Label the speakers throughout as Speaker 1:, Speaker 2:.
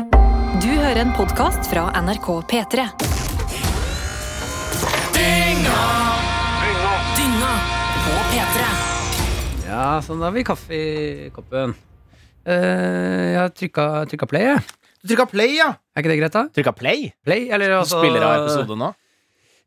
Speaker 1: Du hører en podkast fra NRK P3. Dynga på P3.
Speaker 2: Ja, sånn da har vi kaffe i koppen. Eh, jeg har trykka, trykka play, jeg.
Speaker 3: Du trykka play, ja.
Speaker 2: Er ikke det greit, da?
Speaker 3: Trykka play?
Speaker 2: Play, eller altså
Speaker 3: Spiller av episode nå?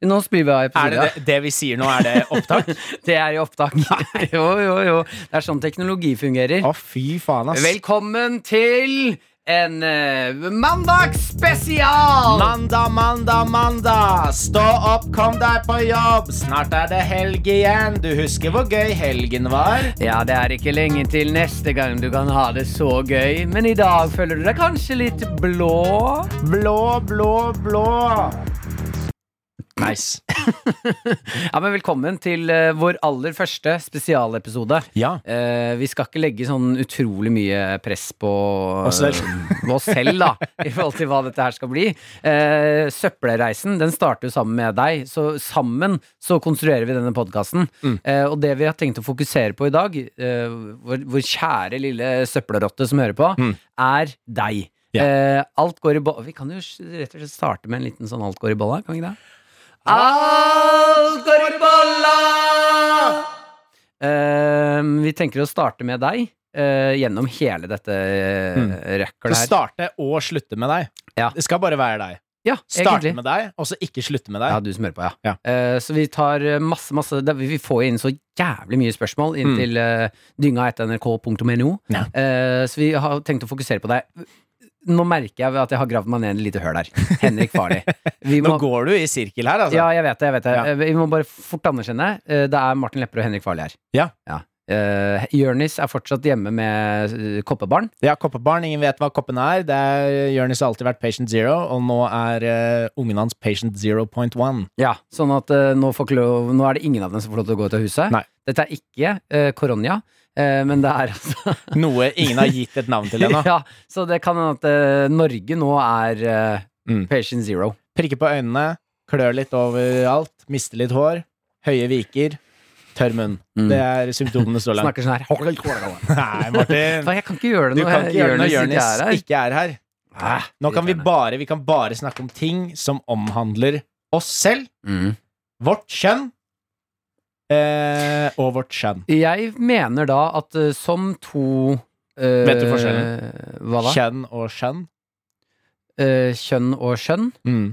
Speaker 2: Nå spiller vi av
Speaker 3: Er
Speaker 2: episode,
Speaker 3: det, det det vi sier nå, er det opptak?
Speaker 2: ja. Det er i opptak. jo, jo, jo. Det er sånn teknologi fungerer.
Speaker 3: Å, fy faen, ass.
Speaker 2: Velkommen til en eh, mandagsspesial!
Speaker 3: Mandag, mandag, mandag. Stå opp, kom deg på jobb. Snart er det helg igjen. Du husker hvor gøy helgen var?
Speaker 2: Ja, det er ikke lenge til neste gang du kan ha det så gøy, men i dag føler du deg kanskje litt blå?
Speaker 3: Blå, blå, blå. Nice.
Speaker 2: Ja, men velkommen til eh, vår aller første spesialepisode.
Speaker 3: Ja.
Speaker 2: Eh, vi skal ikke legge sånn utrolig mye press på
Speaker 3: Oss selv.
Speaker 2: eh, på oss selv, da, i forhold til hva dette her skal bli. Eh, søppelreisen den starter jo sammen med deg, så sammen så konstruerer vi denne podkasten.
Speaker 3: Mm.
Speaker 2: Eh, og det vi har tenkt å fokusere på i dag, eh, vår, vår kjære lille søppelrotte som hører på,
Speaker 3: Mm.
Speaker 2: er deg.
Speaker 3: Ja.
Speaker 2: Eh, alt går i bolla Vi kan jo s- rett og slett starte med en liten sånn alt går i bolla, kan vi ikke det? Alt går i bolla! Eh, vi tenker å starte med deg eh, gjennom hele dette mm.
Speaker 3: Så
Speaker 2: røkkelet her.
Speaker 3: starte og slutte med deg.
Speaker 2: Ja.
Speaker 3: Det skal bare være deg.
Speaker 2: Ja,
Speaker 3: Starte
Speaker 2: egentlig.
Speaker 3: med deg, og så ikke slutte med deg.
Speaker 2: Ja, du som hører på, ja.
Speaker 3: Ja.
Speaker 2: Eh, så vi tar eh, masse, masse det- Vi får inn så jævlig mye spørsmål inn
Speaker 3: Mm.
Speaker 2: til eh, dynga.nrk.no.
Speaker 3: Ja.
Speaker 2: Eh, så vi har tenkt å fokusere på deg. Nå merker jeg at jeg har gravd meg ned i et lite høl her. Henrik Farli. Vi
Speaker 3: Nå går du i sirkel her, altså.
Speaker 2: Ja, jeg vet det. jeg vet det
Speaker 3: Ja.
Speaker 2: Eh, Vi må bare fort anerkjenne. eh, Det er Martin Lepperød og Henrik Farli her.
Speaker 3: Ja.
Speaker 2: Eh, Jørnis er fortsatt hjemme med eh, koppebarn.
Speaker 3: Ja, koppebarn. Ingen vet hva koppen er. Det er Jonis har alltid vært patient zero, og nå er eh, ungen hans patient 0.1.
Speaker 2: Ja, sånn at eh, nå, får ikke lov, nå er det ingen av dem som får lov til å gå ut av huset.
Speaker 3: Nei.
Speaker 2: Dette er ikke eh, koronia, eh, men det er altså
Speaker 3: Noe ingen har gitt et navn til ennå.
Speaker 2: Ja, så det kan hende at eh, Norge nå er eh,
Speaker 3: Mm.
Speaker 2: patient zero.
Speaker 3: Prikke på øynene, klør litt overalt, mister litt hår, høye viker, tørr munn.
Speaker 2: Mm.
Speaker 3: Det er symptomene så langt.
Speaker 2: Snakker sånn her.
Speaker 3: Nei, Martin.
Speaker 2: Faen, Jeg kan ikke gjøre det
Speaker 3: Du
Speaker 2: når
Speaker 3: kan ikke gjøre det når
Speaker 2: Jonis ikke er
Speaker 3: Jonis
Speaker 2: her.
Speaker 3: ikke er her.
Speaker 2: Ah,
Speaker 3: Nå kan vi
Speaker 2: irriterende.
Speaker 3: bare, vi kan bare snakke om ting som omhandler oss selv,
Speaker 2: mm.
Speaker 3: vårt kjønn eh, og vårt kjønn.
Speaker 2: Jeg mener da at eh, som to eh,
Speaker 3: Vet du forskjellen?
Speaker 2: Hva da?
Speaker 3: Kjønn og skjønn.
Speaker 2: Eh, kjønn og skjønn?
Speaker 3: Mm.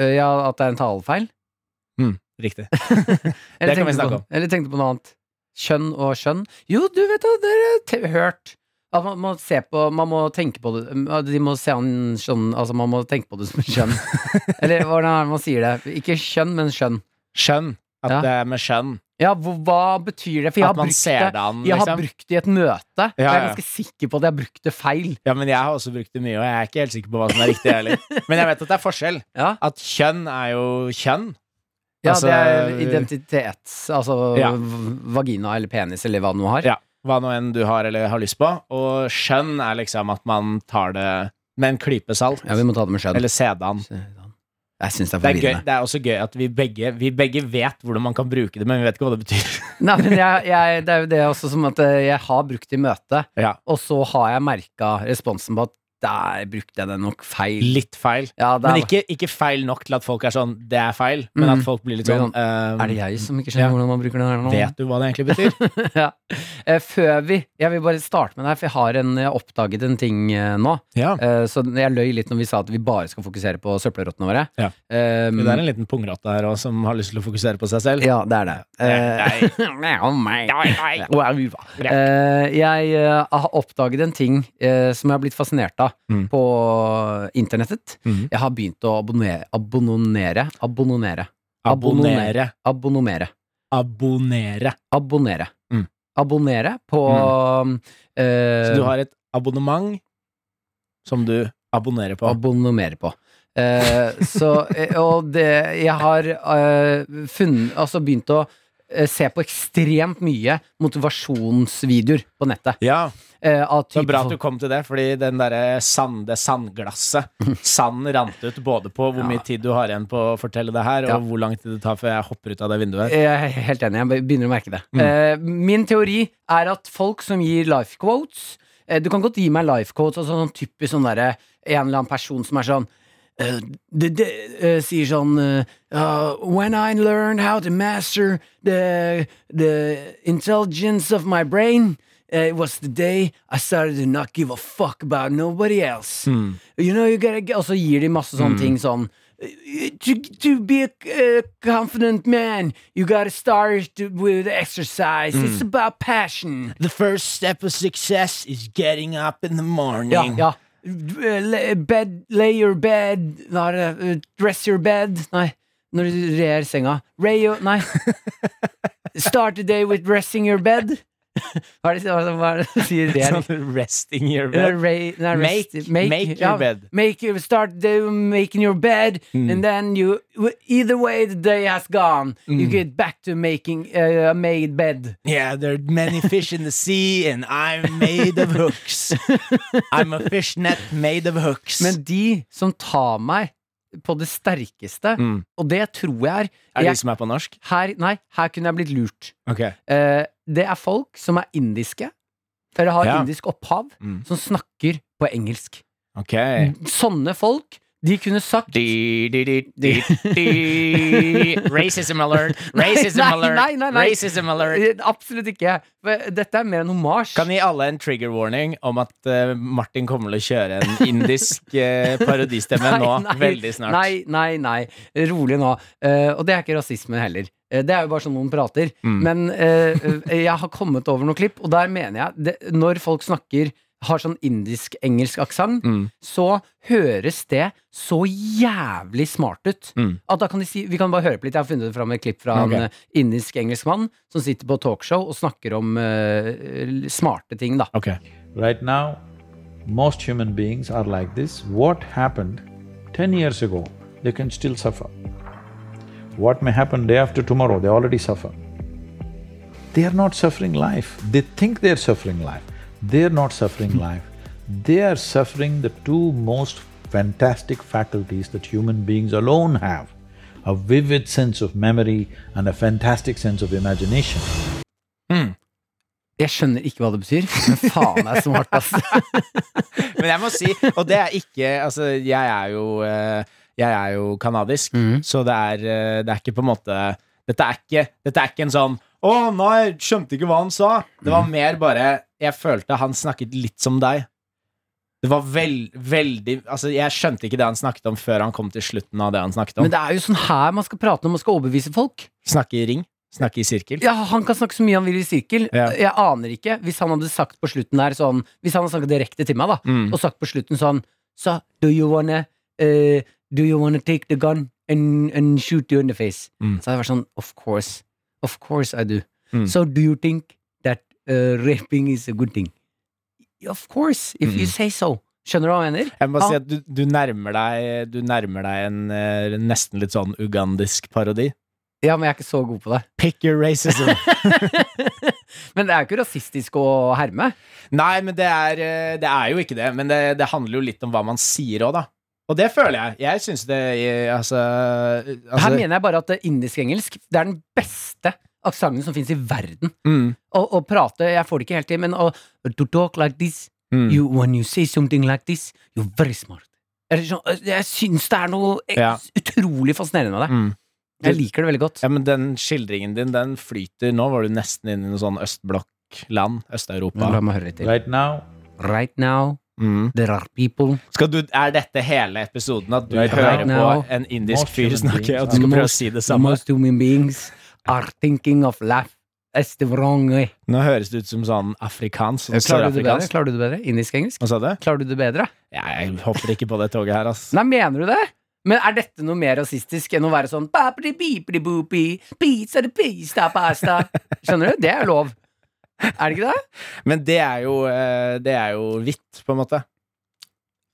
Speaker 2: Eh, ja, at det er en talefeil?
Speaker 3: Riktig.
Speaker 2: Eller
Speaker 3: Det kan vi
Speaker 2: tenkte
Speaker 3: snakke
Speaker 2: på-
Speaker 3: om.
Speaker 2: Eller tenkte på noe annet. Kjønn og skjønn. Jo, du vet da, det har jeg te- hørt. At man må se på Man må tenke på det um, at De må se an skjønn Altså, man må tenke på det som skjønn. Eller hvordan er det man sier det? Ikke skjønn, men skjønn.
Speaker 3: Skjønn. At
Speaker 2: Ja.
Speaker 3: det er med skjønn.
Speaker 2: Ja, hva, hva betyr det? For jeg har
Speaker 3: At man
Speaker 2: brukt
Speaker 3: ser
Speaker 2: det.
Speaker 3: det an,
Speaker 2: Jeg har
Speaker 3: liksom.
Speaker 2: brukt det i et møte, og jeg
Speaker 3: Ja,
Speaker 2: er
Speaker 3: ja.
Speaker 2: ganske sikker på at jeg har brukt det feil.
Speaker 3: Ja, men jeg har også brukt det mye, og jeg er ikke helt sikker på hva som er riktig heller. Men jeg vet at det er forskjell.
Speaker 2: Ja,
Speaker 3: At kjønn er jo kjønn.
Speaker 2: ja
Speaker 3: Altså,
Speaker 2: det er identitets... Altså
Speaker 3: Ja.
Speaker 2: v- vagina eller penis eller hva du nå har.
Speaker 3: Ja. Hva nå enn du har eller har lyst på. Og skjønn er liksom at man tar det med en klype salt.
Speaker 2: Ja, vi må ta det med skjønn.
Speaker 3: Eller sedan.
Speaker 2: Jeg syns det er
Speaker 3: Det er, gøy,
Speaker 2: forvirrende.
Speaker 3: det er også gøy at vi begge, vi begge vet hvordan man kan bruke det, men vi vet ikke hva det betyr.
Speaker 2: Nei, men jeg, jeg, det er jo det også som at eh, jeg har brukt det i møte,
Speaker 3: Ja.
Speaker 2: og så har jeg merka responsen på at der brukte jeg det nok feil.
Speaker 3: Litt feil.
Speaker 2: Ja, det
Speaker 3: Men
Speaker 2: er,
Speaker 3: ikke, ikke feil nok til at folk er sånn 'det er feil', men
Speaker 2: Mm.
Speaker 3: at folk blir litt sånn ehm,
Speaker 2: er det jeg som ikke skjønner
Speaker 3: Ja.
Speaker 2: hvordan man bruker det her nå?
Speaker 3: Vet du hva det egentlig betyr?
Speaker 2: ja. Eh, Før vi Jeg vil bare starte med deg, for jeg har en, jeg har oppdaget en ting eh, nå.
Speaker 3: ja.
Speaker 2: Eh, Så jeg løy litt når vi sa at vi bare skal fokusere på søppelrottene våre.
Speaker 3: Ja.
Speaker 2: Eh,
Speaker 3: Det er en liten pungrotte her også, som har lyst til å fokusere på seg selv.
Speaker 2: ja, det er det.
Speaker 3: Nei,
Speaker 2: Eh, oh my. Eh, jeg eh, har oppdaget en ting eh, som jeg har blitt fascinert av
Speaker 3: Mm.
Speaker 2: på internettet.
Speaker 3: Mhm.
Speaker 2: Jeg har begynt å abonnere Abonnere. Abonnere.
Speaker 3: Abonnere.
Speaker 2: Abonnomere.
Speaker 3: Abonnere.
Speaker 2: Abonnere.
Speaker 3: Mm.
Speaker 2: Abonnere på eh,
Speaker 3: Så du har et abonnement som du abonnerer på.
Speaker 2: Abonnomere på. Eh, så eh, Og det Jeg har eh, funnet Altså begynt å eh, se på ekstremt mye motivasjonsvideoer på nettet.
Speaker 3: ja,
Speaker 2: eh, av
Speaker 3: det
Speaker 2: type
Speaker 3: var bra at
Speaker 2: folk-
Speaker 3: du kom til det, fordi den derre sand, det sandglasset Sand rant ut både på hvor
Speaker 2: Ja.
Speaker 3: mye tid du har igjen på å fortelle det her, og
Speaker 2: Ja.
Speaker 3: hvor lang tid det tar før jeg hopper ut av det vinduet her.
Speaker 2: Jeg er
Speaker 3: Mm.
Speaker 2: helt enig, jeg begynner å merke det. Eh, min teori er at folk som gir life quotes eh, Du kan godt gi meg life coach og sånn typisk sånn derre En eller annen person som er sånn eh, det, det, eh, sier sånn eh, «Uh, When I learned how to master the, the intelligence of my brain eh, It was the day I started to not give a fuck about nobody else You know, you gotta, get-" og så gir de masse sånne ting sånn to, to be a uh, confident man, you gotta start to- with exercise. It's about passion.
Speaker 3: The first step of success is getting up in the morning.
Speaker 2: Ja, ja. Uh, le- Bed, lay your bed Hva er det? Uh, Dress your bed Nei, når du rer senga. Ray your Nei. Start the day with dressing your bed. Hva er det hva er det- hva er det du sier? Rer?
Speaker 3: Sånn resting your
Speaker 2: Eller
Speaker 3: bed.
Speaker 2: Ray, nei,
Speaker 3: Make-
Speaker 2: rest-
Speaker 3: make your bed. Mm.
Speaker 2: Make your, start the, making your bed, and then you Either way the day has gone, you
Speaker 3: Mm.
Speaker 2: get back to making uh, a made bed.
Speaker 3: Yeah, there are many fish in the sea, and I'm made of hooks. I'm a fishnet made of hooks.
Speaker 2: Men de som tar meg på det sterkeste,
Speaker 3: Mm.
Speaker 2: og det tror jeg er,
Speaker 3: er det
Speaker 2: jeg,
Speaker 3: de som er på norsk?
Speaker 2: her, Nei, her kunne jeg blitt lurt.
Speaker 3: Ok.
Speaker 2: Eh, det er folk som er indiske, eller har
Speaker 3: Ja.
Speaker 2: indisk opphav,
Speaker 3: Mm.
Speaker 2: som snakker på engelsk.
Speaker 3: Ok.
Speaker 2: Sånne folk, de kunne sagt
Speaker 3: Racism alert.
Speaker 2: Racism alert.
Speaker 3: Racism
Speaker 2: Eh, Absolutt ikke. For Dette er mer en homasj.
Speaker 3: Kan gi alle en trigger warning om at eh, Martin kommer til å kjøre en indisk eh, parodistemme nå veldig snart.
Speaker 2: Nei, nei, nei. Rolig nå. Eh, og det er ikke rasisme heller. Eh, det er jo bare sånn noen prater.
Speaker 3: Mm.
Speaker 2: Men eh, eh, jeg har kommet over noen klipp, og der mener jeg det, Når folk snakker har sånn indisk-engelsk aksent,
Speaker 3: Mm.
Speaker 2: så høres det så jævlig smart ut.
Speaker 3: Mm.
Speaker 2: At da kan de si, Vi kan bare høre på litt. Jeg har funnet fram et klipp fra
Speaker 3: Ok.
Speaker 2: en eh, indisk-engelsk mann som sitter på talkshow og snakker om eh, smarte ting, da.
Speaker 3: Ok.
Speaker 4: Right now, most human beings are like this. What happened ten years ago, they can still suffer. What may happen day after tomorrow, they already suffer. They are not suffering life. They think they're suffering life. They're not suffering life. They are suffering the two most fantastic faculties that human beings alone have a vivid sense of memory and a fantastic sense of imagination.
Speaker 2: Jeg skjønner ikke hva det betyr, men faen det er smart, ass.
Speaker 3: Men jeg må si, og det er ikke Altså, jeg er jo eh, Jeg er jo kanadisk,
Speaker 2: Mhm.
Speaker 3: så det er, eh, det er ikke på en måte Dette er ikke, dette er ikke en sånn Å nei, jeg skjønte ikke hva han sa. Det
Speaker 2: Mhm.
Speaker 3: var mer bare Jeg følte han snakket litt som deg. Det var vel, veldig Altså, jeg skjønte ikke det han snakket om før han kom til slutten av det han snakket om.
Speaker 2: Men det er jo sånn her man skal prate når man skal overbevise folk.
Speaker 3: Snakke i ring. Snakke i sirkel.
Speaker 2: Ja, Han kan snakke så mye han vil i sirkel.
Speaker 3: Ja.
Speaker 2: Jeg aner ikke. Hvis han hadde sagt på slutten der sånn Hvis han hadde snakket direkte til meg, da,
Speaker 3: Mm.
Speaker 2: og sagt på slutten sånn Så, do you wanna eh, Do you wanna take the gun and, and shoot you in the face?
Speaker 3: Mm.
Speaker 2: Så hadde jeg vært sånn Of course. Of course I do.
Speaker 3: Mm.
Speaker 2: So do you think that eh, raping is a good thing? Of course, if you say so. Skjønner du hva jeg mener?
Speaker 3: Jeg må bare
Speaker 2: Ja.
Speaker 3: si at du, du nærmer deg Du nærmer deg en eh, nesten litt sånn ugandisk parodi.
Speaker 2: Ja, men jeg er ikke så god på det.
Speaker 3: Pick your racism.
Speaker 2: Men det er jo ikke rasistisk å herme.
Speaker 3: Nei, men det er, eh, det er jo ikke det. Men det, det handler jo litt om hva man sier òg, da. Og det føler jeg. Jeg syns det eh, Altså,
Speaker 2: Her
Speaker 3: altså
Speaker 2: mener jeg bare at eh, indisk-engelsk Det er den beste aksenten som fins i verden.
Speaker 3: mm,
Speaker 2: Å å prate Jeg får det ikke helt til, men å To talk like this
Speaker 3: mm.
Speaker 2: you, When you say something like this You're very smart. Eller sånn, eh, Jeg syns det er noe eh,
Speaker 3: Ja.
Speaker 2: utrolig fascinerende med det.
Speaker 3: Mm.
Speaker 2: Jeg liker det veldig godt.
Speaker 3: Ja, men den skildringen din, den flyter. Nå var du nesten inne i noe sånn østblokkland. Øst-Europa.
Speaker 2: La meg høre etter.
Speaker 4: Right now,
Speaker 2: Right now
Speaker 3: Mm.
Speaker 2: there are people
Speaker 3: Skal du, er dette hele episoden? At du
Speaker 4: Right
Speaker 3: hører
Speaker 2: now.
Speaker 3: på en indisk
Speaker 4: Most
Speaker 3: fyr
Speaker 4: human
Speaker 3: snakke,
Speaker 4: beings
Speaker 3: og du skal
Speaker 2: are-
Speaker 3: prøve å si det samme?
Speaker 2: Most human beings are thinking of life as the wrong way.
Speaker 3: Nå høres det ut som sånn afrikansk. Sånn
Speaker 2: Klarer du det bedre?
Speaker 3: sørafrikansk.
Speaker 2: Klarer du det bedre? Indisk-engelsk?
Speaker 3: Hva sa du?
Speaker 2: Klarer du det bedre?
Speaker 3: Jeg hopper ikke på det toget her, ass.
Speaker 2: Nei, mener du det? Men er dette noe mer rasistisk enn å være sånn papri, pipri, bupi, pizza, de pista, pasta Skjønner du? Det er lov. Er det ikke det?
Speaker 3: Men det er jo, eh, det er jo hvitt, på en måte.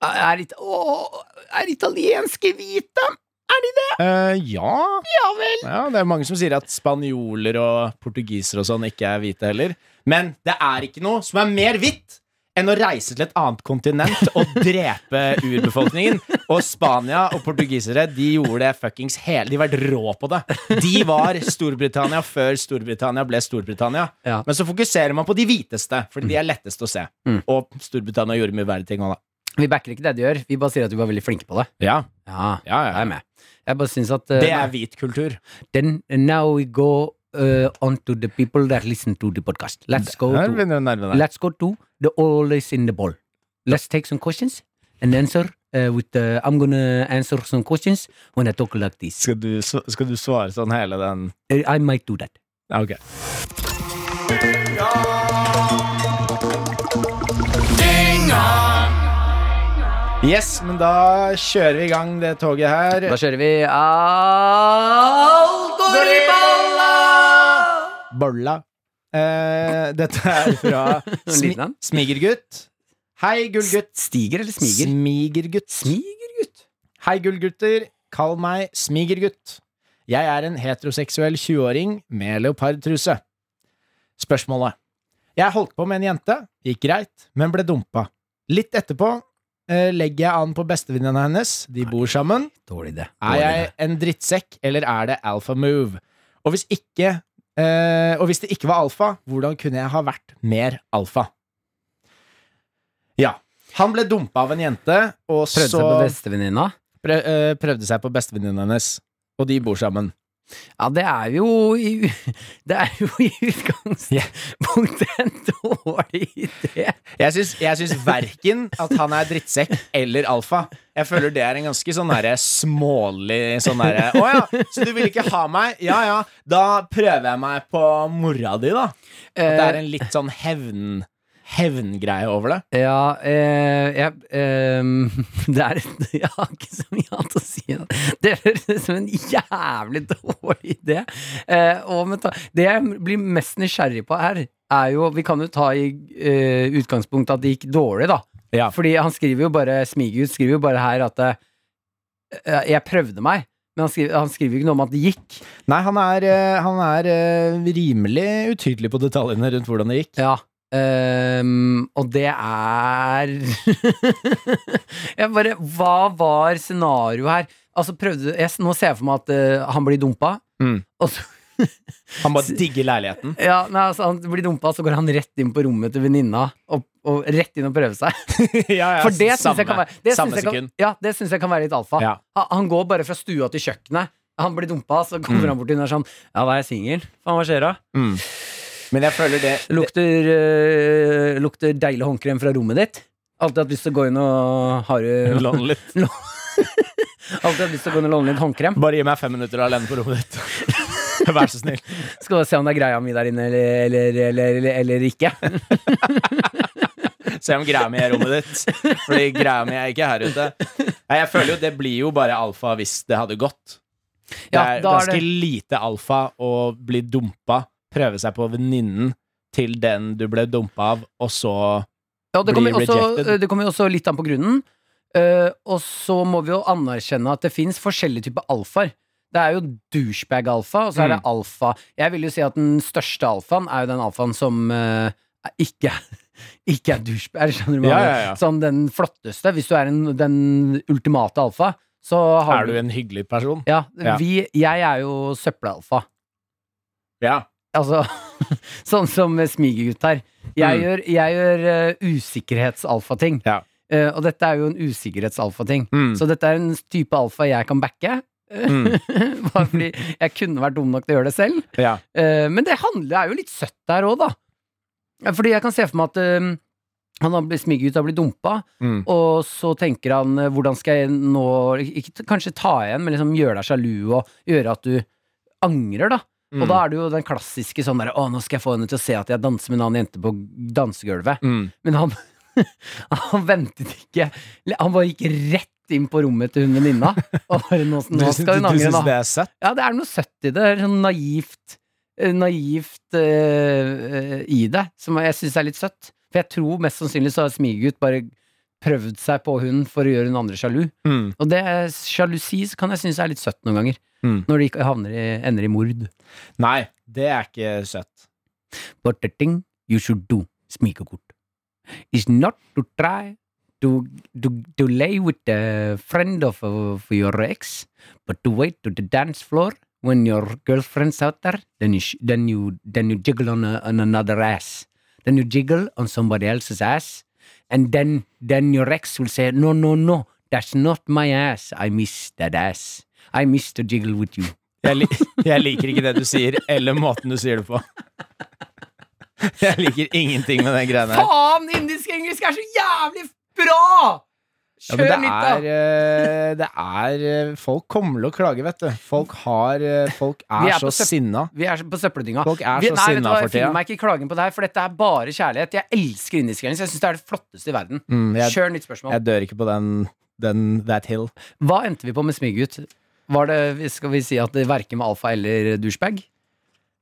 Speaker 2: Er, it Åh, er italienske hvite?
Speaker 3: Eh, ja.
Speaker 2: Ja vel.
Speaker 3: ja. Det er mange som sier at spanjoler og portugisere og sånn ikke er hvite heller. Men det er ikke noe som er mer hvitt enn å reise til et annet kontinent og drepe urbefolkningen. Og Spania og portugisere de gjorde det fuckings hele De var helt rå på det. De var Storbritannia før Storbritannia ble Storbritannia.
Speaker 2: Ja.
Speaker 3: Men så fokuserer man på de hviteste, fordi de er lettest å se.
Speaker 2: Mm.
Speaker 3: Og Storbritannia gjorde mye verre ting òg, da.
Speaker 2: Vi backer ikke det de gjør, vi bare sier at vi var veldig flinke på det.
Speaker 3: Ja,
Speaker 2: Ja,
Speaker 3: ja,
Speaker 2: jeg
Speaker 3: ja.
Speaker 2: er med. Jeg bare syns at eh,
Speaker 3: Det er hvit kultur.
Speaker 2: Then now we go uh, on to the people that listen to the podcast. Let's go
Speaker 3: Her
Speaker 2: to,
Speaker 3: begynner du å nærme deg.
Speaker 2: let's go to the always in the ball. Let's take some questions and answer uh, with the, I'm gonna answer some questions when I talk like this.
Speaker 3: Skal du, skal du svare sånn hele den
Speaker 2: Uh, I might do that.
Speaker 3: Ja, Ok. Yes, men da kjører vi i gang det toget her.
Speaker 2: Da kjører vi Alt går i balla!
Speaker 3: Bolla. Eh, dette er fra smi
Speaker 2: Liten en.
Speaker 3: Smigergutt. Hei, gullgutt.
Speaker 2: Stiger eller smiger?
Speaker 3: Smigergutt.
Speaker 2: Smigergutt.
Speaker 3: Hei, gullgutter. Kall meg smigergutt. Jeg er en heteroseksuell 20-åring med leopardtruse. Spørsmålet. Jeg holdt på med en jente, gikk greit, men ble dumpa. Litt etterpå eh, legger jeg an på bestevenninna hennes, de bor sammen.
Speaker 2: Dårlig idé.
Speaker 3: Er
Speaker 2: Dårlig
Speaker 3: jeg
Speaker 2: idé.
Speaker 3: en drittsekk, eller er det alpha move? Og hvis ikke eh, Og hvis det ikke var alfa, hvordan kunne jeg ha vært mer alfa? Ja. Han ble dumpa av en jente, og
Speaker 2: Prøvde
Speaker 3: så
Speaker 2: seg på bestevenninna.
Speaker 3: prø eh, prøvde seg på bestevenninnen hennes, og de bor sammen.
Speaker 2: Ja, det er jo i, Det er jo i utgangspunktet en dårlig idé.
Speaker 3: Jeg syns, jeg syns verken at han er drittsekk eller alfa. Jeg føler det er en ganske sånn derre smålig sånn derre Å ja, så du vil ikke ha meg? Ja ja, da prøver jeg meg på mora di, da. At det er en litt sånn hevn hevngreie over det.
Speaker 2: Ja, eh, jeg, ehm, det er Jeg har ikke så mye annet å si. om det. Det høres ut som en jævlig dårlig idé. Eh, og med ta, det jeg blir mest nysgjerrig på her, er jo Vi kan jo ta i eh, utgangspunkt at det gikk dårlig, da.
Speaker 3: Ja.
Speaker 2: Fordi han skriver jo bare Smigut skriver jo bare her at eh, Jeg prøvde meg. Men han skriver, han skriver jo ikke noe om at det gikk.
Speaker 3: Nei, han er, eh, han er eh, rimelig utydelig på detaljene rundt hvordan det gikk.
Speaker 2: Ja. ehm, og det er Jeg bare Hva var scenarioet her? Altså prøvde jeg, Nå ser jeg for meg at eh, han blir dumpa.
Speaker 3: Mm.
Speaker 2: Og så,
Speaker 3: Han bare digger leiligheten.
Speaker 2: ja, nei, altså, han blir dumpa, så går han rett inn på rommet til venninna og, og rett inn og prøver seg.
Speaker 3: ja, ja,
Speaker 2: For det syns
Speaker 3: samme-
Speaker 2: jeg kan være det
Speaker 3: Samme
Speaker 2: synes jeg kan,
Speaker 3: sekund.
Speaker 2: Ja, det syns jeg kan være litt alfa.
Speaker 3: Ja.
Speaker 2: Ha- Han går bare fra stua til kjøkkenet. Han blir dumpa, så kommer han bort til henne og er sånn Ja, da er jeg singel. Faen, hva skjer da?
Speaker 3: Mm. Men jeg føler det
Speaker 2: Lukter, øh, lukter deilig håndkrem fra rommet ditt. Alltid hatt lyst til å gå inn og har øh,
Speaker 3: Lån litt.
Speaker 2: Alltid hatt lyst til å gå inn og låne litt håndkrem.
Speaker 3: Bare gi meg fem minutter alene på rommet ditt. Vær så snill.
Speaker 2: Skal vi se om det er greia mi der inne eller, eller, eller, eller, eller ikke.
Speaker 3: Se om greia mi er rommet ditt. Fordi greia mi er ikke her ute. Nei, jeg føler jo det blir jo bare alfa hvis det hadde gått. Det
Speaker 2: Ja,
Speaker 3: er
Speaker 2: da er
Speaker 3: ganske
Speaker 2: det
Speaker 3: lite alfa å bli dumpa, prøve seg på venninnen til den du ble dumpa av, og så
Speaker 2: Ja, det
Speaker 3: blir
Speaker 2: kommer, også, eh,
Speaker 3: rejected.
Speaker 2: det kommer jo også litt an på grunnen. Eh, og så må vi jo anerkjenne at det fins forskjellige typer alfaer. Det er jo douchebag-alfa, og så er det
Speaker 3: Mm.
Speaker 2: alfa Jeg vil jo si at den største alfaen er jo den alfaen som eh, er- ikke er ikke er douchebag, skjønner du hva jeg
Speaker 3: Ja,
Speaker 2: mener?
Speaker 3: ja, ja.
Speaker 2: Som den flotteste. Hvis du er en, den ultimate alfa, så har
Speaker 3: Er du en hyggelig person?
Speaker 2: ja,
Speaker 3: Ja.
Speaker 2: vi, Jeg er jo søppelalfa.
Speaker 3: Ja.
Speaker 2: Altså, sånn som smigegutt her. Jeg
Speaker 3: Mm.
Speaker 2: gjør, jeg gjør eh, usikkerhetsalfating.
Speaker 3: Ja.
Speaker 2: Eh, og dette er jo en usikkerhetsalfating.
Speaker 3: Mm.
Speaker 2: Så dette er en type alfa jeg kan backe.
Speaker 3: Mm.
Speaker 2: Bare fordi jeg kunne vært dum nok til å gjøre det selv.
Speaker 3: ja.
Speaker 2: Eh, men det handler er jo litt søtt der òg, da. Ja, Fordi jeg kan se for meg at eh, han har blitt smigegutt har blitt dumpa,
Speaker 3: Mm.
Speaker 2: og så tenker han eh, hvordan skal jeg nå ikke, Kanskje ta igjen, men liksom gjøre deg sjalu og gjøre at du angrer, da. Og
Speaker 3: Mm.
Speaker 2: da er det jo den klassiske sånn derre Å, nå skal jeg få henne til å se at jeg danser med en annen jente på dansegulvet.
Speaker 3: Mm.
Speaker 2: Men han, han ventet ikke. Han bare gikk rett inn på rommet til hun venninna. Og bare nå,
Speaker 3: Du
Speaker 2: nå
Speaker 3: syns-
Speaker 2: skal hun
Speaker 3: du
Speaker 2: angre,
Speaker 3: syns det
Speaker 2: nå.
Speaker 3: er søtt?
Speaker 2: Ja, det er noe søtt i det. det er Sånn naivt eh, Naivt eh, eh, i det, som jeg syns er litt søtt. For jeg tror mest sannsynlig så har Smigegutt bare prøvd seg på hun for å gjøre hun andre sjalu.
Speaker 3: Mm.
Speaker 2: Og det er- sjalusi kan jeg synes er litt søtt noen ganger.
Speaker 3: Mm.
Speaker 2: Når det ikke havner i, ender i mord.
Speaker 3: Nei, det er ikke søtt.
Speaker 2: But the thing you should do, smigekort. is not to try to, to, to lay with the friend of, of your ex, but to wait to the dance floor when your girlfriend's out there. Then you sh- then you then you jiggle on, a, on another ass. Then you jiggle on somebody else's ass, and then then your ex will say, "No, no, no, that's not my ass. I miss that ass. I miss to jiggle with you."
Speaker 3: Jeg, li jeg liker ikke det du sier, eller måten du sier det på. Jeg liker ingenting med den greia der.
Speaker 2: Faen, indisk-engelsk er så jævlig bra!
Speaker 3: Ja,
Speaker 2: Kjør
Speaker 3: men det
Speaker 2: litt,
Speaker 3: er,
Speaker 2: da!
Speaker 3: eh, det er eh, Folk kommer til å klage, vet du. Folk, har, eh, folk
Speaker 2: Vi
Speaker 3: er,
Speaker 2: er på
Speaker 3: så
Speaker 2: søpp-
Speaker 3: sinna.
Speaker 2: Vi er så- på søppeldynga.
Speaker 3: Folk er
Speaker 2: Vi- nei, vet
Speaker 3: så
Speaker 2: du
Speaker 3: sinna
Speaker 2: hva,
Speaker 3: for
Speaker 2: Jeg finner
Speaker 3: tida.
Speaker 2: meg ikke i klagen på det her, for dette er bare kjærlighet. Jeg elsker indisk-engelsk. Jeg syns det er det flotteste i verden.
Speaker 3: Mm, jeg,
Speaker 2: Kjør nytt spørsmål.
Speaker 3: jeg dør ikke på den, den That Hill.
Speaker 2: Hva endte vi på med smiggut? Var det, skal vi si at det verker med alfa eller douchebag?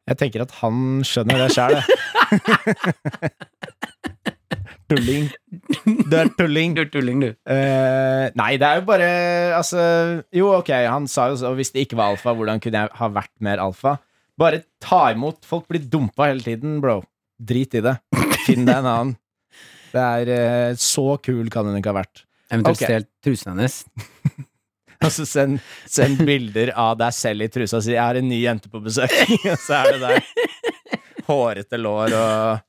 Speaker 3: Jeg tenker at han skjønner det sjæl, jeg. tulling. Du er tulling.
Speaker 2: Du tulling, du.
Speaker 3: Eh, nei, det er jo bare Altså, jo, ok, han sa jo så Hvis det ikke var alfa, hvordan kunne jeg ha vært mer alfa? Bare ta imot. Folk blir dumpa hele tiden, bro. Drit i det. Finn deg en annen. Det er eh, Så kul kan hun ikke ha vært.
Speaker 2: Eventuelt
Speaker 3: Ok.
Speaker 2: stjålet trusene hennes.
Speaker 3: Altså, send, send bilder av deg selv i trusa og si 'jeg har en ny jente på besøk', og så er det der. Hårete lår og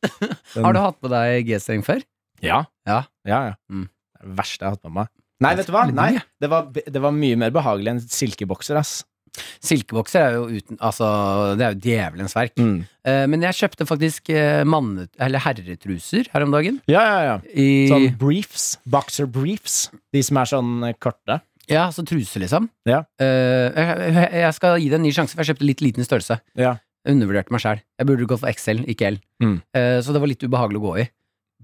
Speaker 3: den-
Speaker 2: Har du hatt på deg G-streng før?
Speaker 3: Ja.
Speaker 2: Ja.
Speaker 3: ja, ja.
Speaker 2: Mm.
Speaker 3: Det er det verste jeg har hatt på meg. Nei, vet du hva?
Speaker 2: Veldig
Speaker 3: Nei,
Speaker 2: bra.
Speaker 3: det, var, det var mye mer behagelig enn silkebokser, ass.
Speaker 2: Silkebokser er jo uten Altså, det er jo djevelens verk.
Speaker 3: Mm.
Speaker 2: Eh, men jeg kjøpte faktisk eh, manne... Eller herretruser her om dagen.
Speaker 3: Ja, ja, ja.
Speaker 2: I,
Speaker 3: Sånn briefs. Boxer briefs. De som er sånn eh, korte.
Speaker 2: Ja, så truser, liksom.
Speaker 3: Ja.
Speaker 2: Eh, jeg, jeg- jeg skal gi det en ny sjanse, for jeg kjøpte litt liten størrelse.
Speaker 3: Ja.
Speaker 2: Jeg undervurderte meg sjæl. Jeg burde gå for XL, ikke L.
Speaker 3: Mm.
Speaker 2: Eh, så det var litt ubehagelig å gå i.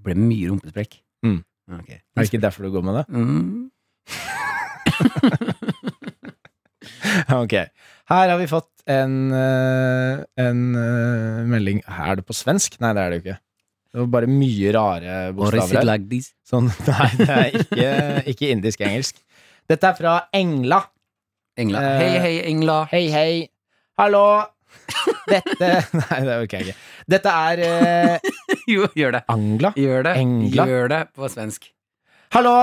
Speaker 2: Ble mye rumpesprekk.
Speaker 3: Mm.
Speaker 2: Ok.
Speaker 3: Er det ikke derfor du går med det?
Speaker 2: Mm.
Speaker 3: Ok. Her har vi fått en, eh, en eh, melding Er det på svensk? Nei, det er det jo ikke. Det var bare mye rare
Speaker 2: Or is it
Speaker 3: bokstaver her.
Speaker 2: like this?
Speaker 3: Sånn, nei, det er ikke, ikke indisk-engelsk. Dette er fra Engla.
Speaker 2: Engla.
Speaker 3: Eh,
Speaker 2: hei, hei, Engla.
Speaker 3: Hei, hei. Hallo. Dette Nei, det orker jeg ikke. Dette er eh,
Speaker 2: jo, gjør det.
Speaker 3: Angla.
Speaker 2: Gjør det.
Speaker 3: Engla.
Speaker 2: Gjør det på svensk.
Speaker 3: Hallo!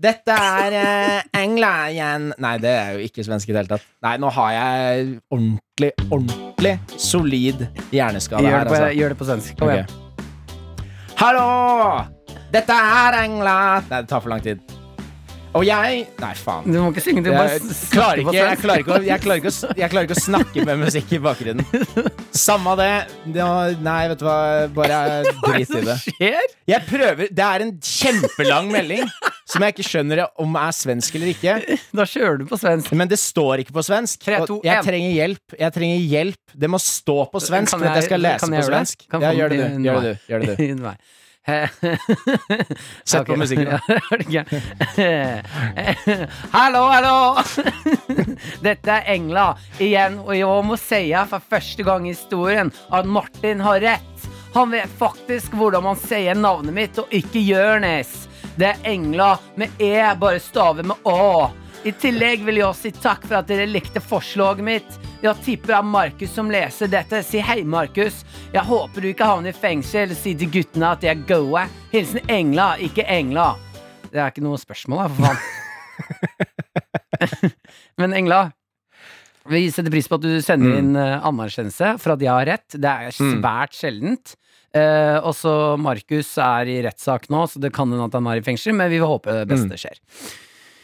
Speaker 3: Dette er eh, Engla igjen. Nei, det er jo ikke svensk i det hele tatt. Nei, nå har jeg ordentlig, ordentlig solid hjerneskade
Speaker 2: Gjør
Speaker 3: her,
Speaker 2: det på,
Speaker 3: altså.
Speaker 2: gjør det på svensk. Kom
Speaker 3: Ok.
Speaker 2: igjen.
Speaker 3: Hallo! Dette er Engla Nei, det tar for lang tid. Og jeg Nei, faen.
Speaker 2: Du må ikke synge, du bare
Speaker 3: Jeg
Speaker 2: s-
Speaker 3: klarer
Speaker 2: snakke på
Speaker 3: ikke, jeg
Speaker 2: svensk.
Speaker 3: klarer ikke, å- jeg klarer ikke, å s- jeg klarer ikke å snakke med musikk i bakgrunnen. Samme det. Nå- Nei, vet du hva. Bare drit i det.
Speaker 2: Hva skjer?
Speaker 3: Jeg prøver, Det er en kjempelang melding som jeg ikke skjønner om er svensk eller ikke.
Speaker 2: Da kjører du på svensk.
Speaker 3: Men det står ikke på svensk.
Speaker 2: Tre,
Speaker 3: og
Speaker 2: to,
Speaker 3: jeg
Speaker 2: en.
Speaker 3: trenger hjelp. Jeg trenger hjelp Det må stå på svensk
Speaker 2: Kan
Speaker 3: for at jeg skal lese
Speaker 2: kan jeg
Speaker 3: på
Speaker 2: gjøre det?
Speaker 3: svensk.
Speaker 2: Kan
Speaker 3: Ja,
Speaker 2: få
Speaker 3: gjør
Speaker 2: den
Speaker 3: det,
Speaker 2: til-
Speaker 3: du. Gjør det, du. Gjør det, du.
Speaker 2: Nei. He-
Speaker 3: Sett
Speaker 2: Ok.
Speaker 3: på musikken, da.
Speaker 2: Ja, er det gæren? hallo, hallo! Dette er Engla igjen, og jeg må si for første gang i historien at Martin har rett. Han vet faktisk hvordan man sier navnet mitt, og ikke Jørnis. Det er Engla med E, bare stavet med Å. I tillegg vil jeg si takk for at dere likte forslaget mitt. Jeg tipper det er Markus som leser dette. Si hei, Markus. Jeg håper du ikke havner i fengsel. Si til guttene at de er gode. Hilsen Engla, ikke Engla. Det er ikke noe spørsmål, da, for faen. Men Engla, vi setter pris på at du
Speaker 3: Mm.
Speaker 2: sender inn eh, anerkjennelse for at jeg har rett. Det er svært sjeldent. Eh, også Markus er i rettssak nå, så det kan hende at han er i fengsel, men vi håper det
Speaker 3: Mm.
Speaker 2: beste skjer.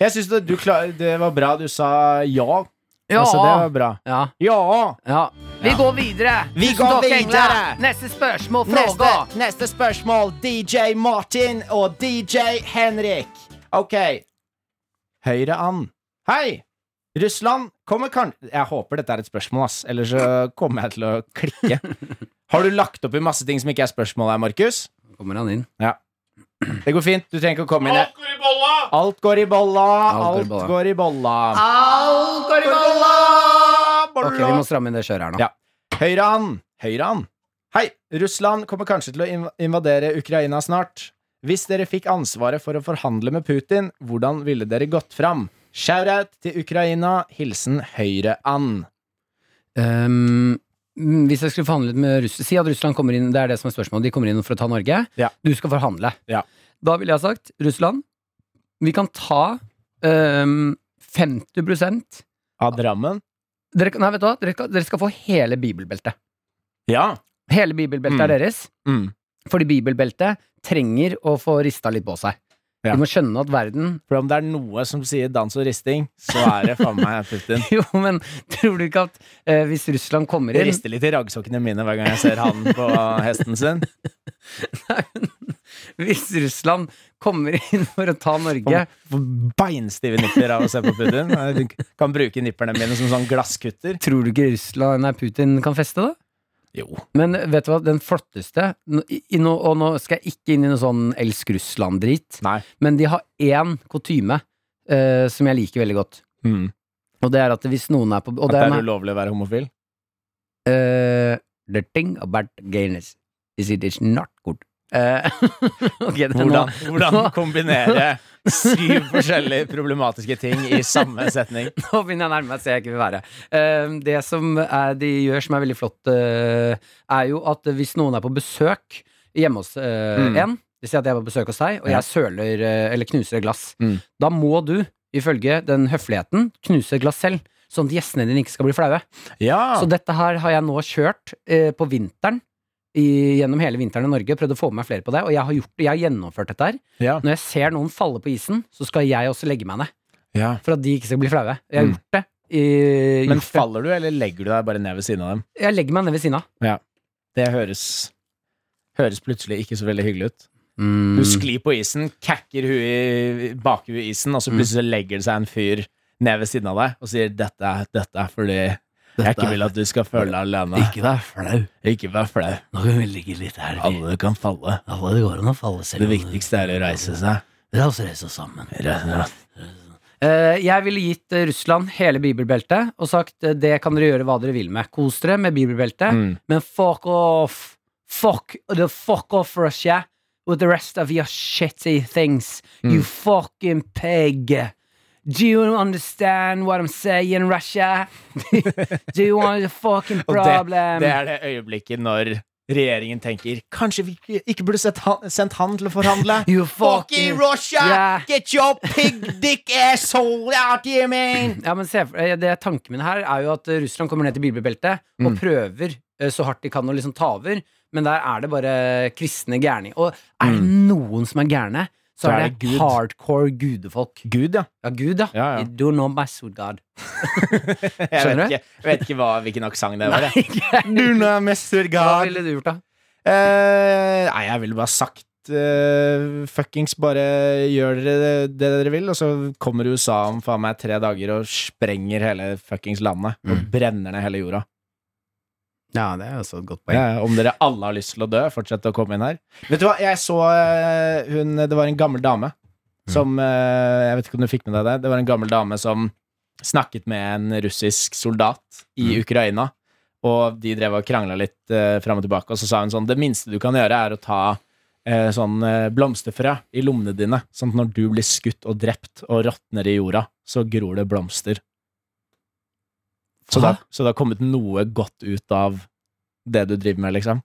Speaker 3: Jeg syns det, du klar- det var bra du sa ja.
Speaker 2: Ja.
Speaker 3: Altså, det var bra.
Speaker 2: ja.
Speaker 3: Ja!
Speaker 2: ja. Vi går videre.
Speaker 3: Vi
Speaker 2: Tusen
Speaker 3: går
Speaker 2: takk, Engla.
Speaker 3: videre.
Speaker 2: Neste spørsmål,
Speaker 3: Neste,
Speaker 2: fråga.
Speaker 3: neste spørsmål. DJ Martin og DJ Henrik. Ok. Høyre an. Hei! Russland kommer kan... Jeg håper dette er et spørsmål, ass. Ellers så kommer jeg til å klikke. Har du lagt opp i masse ting som ikke er spørsmål her, Markus?
Speaker 2: Kommer han inn?
Speaker 3: Det går fint. Du trenger ikke å komme inn. Alt går i bolla! Alt går i bolla. Alt går i bolla. Alt går i bolla!
Speaker 2: Ok, vi må stramme inn det kjøret her nå.
Speaker 3: Ja. Høyre an! Høyre an! Hei! Russland kommer kanskje til å inv- invadere Ukraina snart. Hvis dere fikk ansvaret for å forhandle med Putin, hvordan ville dere gått fram? Shout-out til Ukraina. Hilsen Høyre an.
Speaker 2: Ehm, mm, hvis jeg skulle forhandlet med Russland Si at Russland kommer inn, det er det som er spørsmålet. De kommer inn for å ta Norge.
Speaker 3: Ja.
Speaker 2: Du skal forhandle.
Speaker 3: Ja.
Speaker 2: Da ville jeg sagt Russland. Vi kan ta ehm, 50
Speaker 3: Av Drammen?
Speaker 2: dere, kan- Nei, vet du hva? Dere, kan- dere skal få hele bibelbeltet.
Speaker 3: Ja.
Speaker 2: Hele bibelbeltet
Speaker 3: Mm.
Speaker 2: er deres.
Speaker 3: Mm.
Speaker 2: Fordi bibelbeltet trenger å få rista litt på seg.
Speaker 3: Ja.
Speaker 2: Vi må skjønne at verden
Speaker 3: For om det er noe som sier dans og risting, så er det faen meg Putin.
Speaker 2: Jo, men tror du ikke at eh, hvis Russland kommer
Speaker 3: Det
Speaker 2: inn
Speaker 3: rister litt i raggsokkene mine hver gang jeg ser han på hesten sin.
Speaker 2: Hvis Russland kommer inn for å ta Norge
Speaker 3: Får- får Beinstive nipper av å se på Putin. Jeg kan bruke nipperne mine som sånn glasskutter.
Speaker 2: Tror du ikke Russland, nei, Putin kan feste, da?
Speaker 3: Jo.
Speaker 2: Men vet du hva, den flotteste nå- i- i nå- Og nå skal jeg ikke inn i noe sånn Elsk Russland-drit,
Speaker 3: Nei.
Speaker 2: men de har én kutyme eh, som jeg liker veldig godt.
Speaker 3: Mm.
Speaker 2: Og det er at hvis noen er på og
Speaker 3: At det er
Speaker 2: den
Speaker 3: ulovlig å være homofil?
Speaker 2: er, eh, The thing about gayness is it is not good. Eh, ok, det er
Speaker 3: Hvordan,
Speaker 2: nå-
Speaker 3: hvordan
Speaker 2: nå-
Speaker 3: kombinere syv forskjellige problematiske ting i samme setning?
Speaker 2: Nå begynner jeg å nærme meg et sted jeg ikke vil være. Ehm, det som er, de gjør som er veldig flott, eh, er jo at hvis noen er på besøk hjemme hos eh,
Speaker 3: Mm.
Speaker 2: en Det sier at jeg er på besøk hos deg, og
Speaker 3: Ja.
Speaker 2: jeg søler eh, eller knuser et glass.
Speaker 3: Mm.
Speaker 2: Da må du, ifølge den høfligheten, knuse et glass selv. Sånn at gjestene dine ikke skal bli flaue.
Speaker 3: Ja!
Speaker 2: Så dette her har jeg nå kjørt eh, på vinteren. I, gjennom hele vinteren i Norge. Prøvd å få med meg flere på det. Og jeg har, gjort, det, jeg har gjennomført dette her.
Speaker 3: ja.
Speaker 2: Når jeg ser noen falle på isen, så skal jeg også legge meg ned.
Speaker 3: ja.
Speaker 2: For at de ikke skal bli flaue. Jeg har
Speaker 3: Mm.
Speaker 2: gjort det. I-
Speaker 3: Men
Speaker 2: gjort det.
Speaker 3: faller du, eller legger du deg bare ned ved siden av dem?
Speaker 2: Jeg legger meg ned ved siden av.
Speaker 3: Det høres Høres plutselig ikke så veldig hyggelig ut. Du sklir på isen, kakker huet i bakhuet i isen, og så plutselig så legger det seg en fyr ned ved siden av deg og sier 'dette, er- dette er fordi jeg ikke vil at du skal føle deg alene'. Ikke vær flau. Ikke vær flau.
Speaker 2: Nå kan vi ligge litt her.
Speaker 3: Alle kan falle.
Speaker 2: det går an å falle
Speaker 3: Det viktigste er å reise seg.
Speaker 2: La oss reise oss sammen.
Speaker 3: Reise seg.
Speaker 2: jeg ville gitt eh, Russland hele bibelbeltet og sagt eh, det kan dere gjøre hva dere vil med. Kos dere med bibelbeltet,
Speaker 3: Mm.
Speaker 2: men fuck off. Fuck the fuck off Russia with the rest of your shitty things.
Speaker 3: Mm.
Speaker 2: You fucking pig. Do you understand what I'm saying, Russia? Do you want the fucking
Speaker 3: Og det,
Speaker 2: problem?
Speaker 3: det er det øyeblikket når regjeringen tenker 'kanskje vi ikke, ikke burde sett han, sendt han til å forhandle'?
Speaker 2: You
Speaker 3: Fucking
Speaker 2: fucking-
Speaker 3: Russia!
Speaker 2: Yeah.
Speaker 3: Get your pig dick asshole out here, man!
Speaker 2: Ja, men se, for- eh, det Tanken min her er jo at eh, Russland kommer ned til bibelbeltet og prøver eh, så hardt de kan å liksom ta over, men der er det bare kristne gærninger. Og er det noen som er gærne, Mm. så, er det,
Speaker 3: Gud.
Speaker 2: hardcore gudefolk.
Speaker 3: Gud, ja.
Speaker 2: Ja, Gud, ja.
Speaker 3: Ja, ja.
Speaker 2: You do know my sword god.
Speaker 3: Jeg vet
Speaker 2: Skjønner du?
Speaker 3: ikke, jeg vet ikke hva, hvilken aksent det var. jeg.
Speaker 2: Hva
Speaker 3: Luna mester
Speaker 2: ville du gjort, da?
Speaker 3: Eh, nei, jeg ville bare sagt eh, fuckings bare gjør dere det, det dere vil, og så kommer USA om faen meg tre dager og sprenger hele fuckings landet. Og
Speaker 2: Mm.
Speaker 3: brenner ned hele jorda.
Speaker 2: Ja, det er også et godt
Speaker 3: Ja, om dere alle har lyst til å dø, fortsett å komme inn her. Vet du hva, jeg så eh, hun Det var en gammel dame som eh, Jeg vet ikke om du fikk med deg det. Det var en gammel dame som snakket med en russisk soldat i Ukraina, og de drev og krangla litt uh, fram og tilbake, og så sa hun sånn Det minste du kan gjøre, er å ta eh, sånn eh, blomsterfrø i lommene dine, sånn at når du blir skutt og drept og råtner i jorda, så gror det blomster. Så det,
Speaker 2: Hva?
Speaker 3: har- så det har kommet noe godt ut av det du driver med, liksom.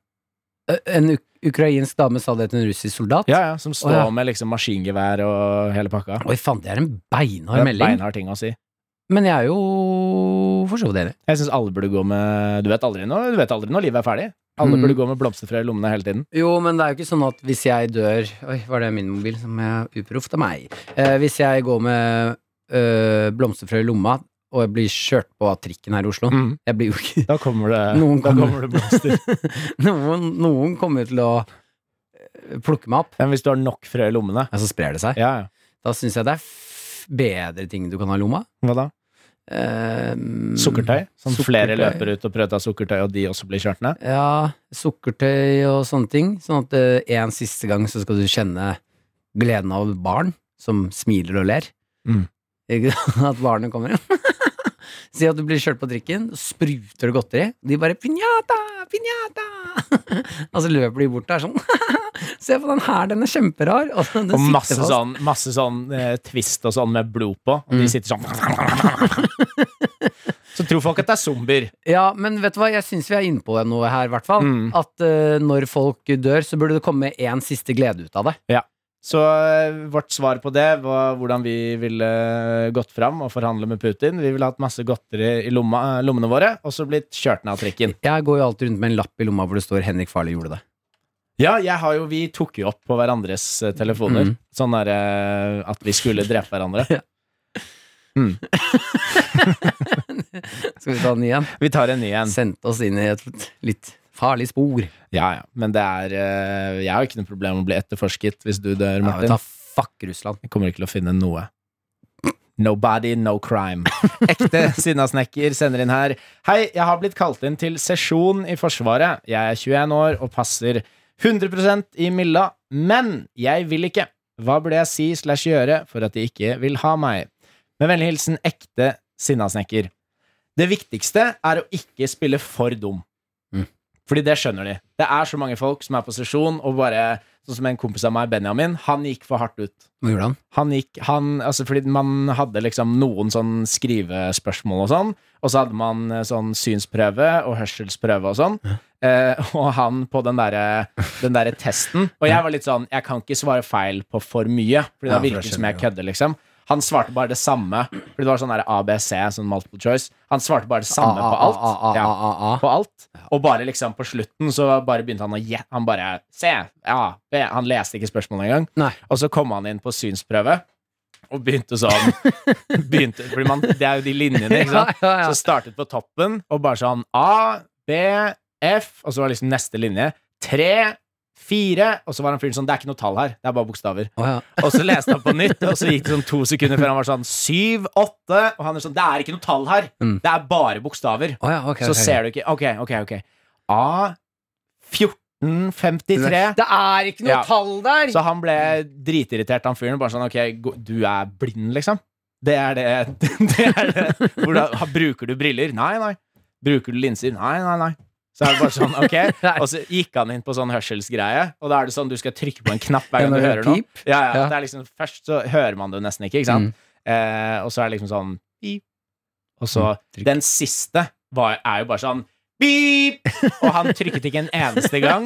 Speaker 2: Eh, En uk ukrainsk dame sa det til en russisk soldat?
Speaker 3: Ja, ja, som står
Speaker 2: Å, ja.
Speaker 3: med liksom maskingevær og hele pakka.
Speaker 2: Oi, faen, det er en beinhard
Speaker 3: Det er
Speaker 2: melding.
Speaker 3: Beinhard ting å si.
Speaker 2: Men jeg er jo for så vidt enig.
Speaker 3: Jeg syns alle burde gå med Du vet aldri når, du vet aldri når livet er ferdig. Alle
Speaker 2: Mm.
Speaker 3: burde gå med blomsterfrø i lommene hele tiden.
Speaker 2: Jo, men det er jo ikke sånn at hvis jeg dør Oi, var det min mobil som er uproft av meg? Eh, hvis jeg går med eh, blomsterfrø i lomma og jeg blir kjørt på av trikken her i Oslo Jeg blir jo ikke
Speaker 3: Da kommer det
Speaker 2: Mm. Noen
Speaker 3: da
Speaker 2: kommer.
Speaker 3: kommer det blomster.
Speaker 2: noen, noen kommer jo til å eh, plukke meg opp,
Speaker 3: Men hvis du har nok frø i lommene
Speaker 2: og så sprer det seg.
Speaker 3: Ja, ja.
Speaker 2: Da syns jeg det er f bedre ting du kan ha i lomma.
Speaker 3: Hva da?
Speaker 2: Eh,
Speaker 3: Sukkertøy? Som
Speaker 2: Sukkertøy.
Speaker 3: flere løper ut og prøver å ta sukkertøy, og de også blir kjørt ned?
Speaker 2: Ja, sukkertøy og sånne ting. Sånn at eh, en siste gang så skal du kjenne gleden av barn som smiler og ler.
Speaker 3: Mm.
Speaker 2: Ikke sant? At barnet kommer inn. Si at du blir kjørt på trikken, og spruter det godteri. De bare 'pinjata, pinjata'! og så løper de bort der sånn. Se på den her, den er kjemperar. Og, den
Speaker 3: Og
Speaker 2: sitter
Speaker 3: masse
Speaker 2: fast. Mm.
Speaker 3: sånn, masse sånn eh, twist og sånn med blod på, og de sitter sånn Så tror folk at det er zombier.
Speaker 2: Ja, men vet du hva, jeg syns vi er inne på noe her, i hvert fall.
Speaker 3: Mm.
Speaker 2: At eh, når folk dør, så burde det komme én siste glede ut av det.
Speaker 3: Ja. Så eh, vårt svar på det var hvordan vi ville eh, gått fram og forhandle med Putin. Vi ville hatt masse godteri i lomma, eh, lommene våre, og så blitt kjørt ned av trikken.
Speaker 2: Jeg går jo alltid rundt med en lapp i lomma hvor det står 'Henrik Farley gjorde det'.
Speaker 3: Ja, jeg har jo, vi tok jo opp på hverandres eh, telefoner.
Speaker 2: Mhm.
Speaker 3: Sånn der, eh, at vi skulle drepe hverandre.
Speaker 2: Skal vi ta den igjen?
Speaker 3: Vi tar en ny en.
Speaker 2: Sendte oss inn i et litt farlig spor.
Speaker 3: Ja, ja. Men det er eh, Jeg har ikke noe problem med å bli etterforsket hvis du dør,
Speaker 2: Ja, vet du,
Speaker 3: Martin.
Speaker 2: hva, fuck Russland.
Speaker 3: Jeg kommer ikke til å finne noe. Nobody, no crime. Ekte sinnasnekker sender inn her. Hei, jeg har blitt kalt inn til sesjon i Forsvaret. Jeg er 21 år og passer 100 i Milla, men jeg vil ikke. Hva burde jeg si slash gjøre for at de ikke vil ha meg? Med vennlig hilsen ekte sinnasnekker. Det viktigste er å ikke spille for dum.
Speaker 2: Mm.
Speaker 3: Fordi det skjønner de. Det er så mange folk som er på sesjon, og bare sånn som en kompis av meg, Benjamin, han gikk for hardt ut.
Speaker 2: Hva gjorde han?
Speaker 3: Han gikk, han, altså fordi man hadde liksom noen sånn skrivespørsmål og sånn, og så hadde man eh, sånn synsprøve og hørselsprøve og sånn, eh, og han på den derre den derre testen, og jeg var litt sånn, jeg kan ikke svare feil på for mye, fordi
Speaker 2: Ja,
Speaker 3: da
Speaker 2: for
Speaker 3: virker
Speaker 2: det
Speaker 3: det som jeg
Speaker 2: skjønner
Speaker 3: kødder, liksom. Han svarte bare det samme, fordi det var sånn der ABC, sånn multiple choice. Han svarte bare det samme
Speaker 2: A,
Speaker 3: på
Speaker 2: A,
Speaker 3: alt.
Speaker 2: A, A,
Speaker 3: Ja
Speaker 2: A, A, A.
Speaker 3: på alt. Og bare liksom på slutten så bare begynte han å gjette. Han bare Se! Ja. B. Han leste ikke spørsmålet engang.
Speaker 2: Nei.
Speaker 3: Og så kom han inn på synsprøve og begynte sånn begynte, fordi man, Det er jo de linjene, ikke sant?
Speaker 2: Ja, ja, ja.
Speaker 3: Så startet på toppen og bare sånn A, B, F, og så var liksom neste linje tre, fire, og så var han fyren sånn Det er ikke noe tall her, det er bare bokstaver.
Speaker 2: Å, ja.
Speaker 3: Og så leste han på nytt, og så gikk det sånn to sekunder før han var sånn syv, åtte, og han er sånn Det er ikke noe tall her,
Speaker 2: Mm.
Speaker 3: det er bare bokstaver
Speaker 2: Å, ja, ok,
Speaker 3: så
Speaker 2: ok.
Speaker 3: ser du ikke Ok, ok, ok. A 1453.
Speaker 2: Det er ikke noe
Speaker 3: Ja.
Speaker 2: tall der!
Speaker 3: Så han ble dritirritert, han fyren. Bare sånn Ok, gå- du er blind, liksom? Det er det, det, er det. Hvordan, ha- Bruker du briller? Nei, nei. Bruker du linser? Nei, nei, nei. Så er det bare sånn, ok Og så gikk han inn på sånn hørselsgreie, og da er det sånn du skal trykke på en knapp hver gang du hører noe.
Speaker 2: pip.
Speaker 3: Ja, ja,
Speaker 2: Ja.
Speaker 3: Det er liksom, først så hører man det jo nesten ikke, ikke sant?
Speaker 2: Mm. Mm.
Speaker 3: Eh, og så er det liksom sånn pip. Og så
Speaker 2: trykk.
Speaker 3: Den siste var, er jo bare sånn Beep! Og han trykket ikke en eneste gang.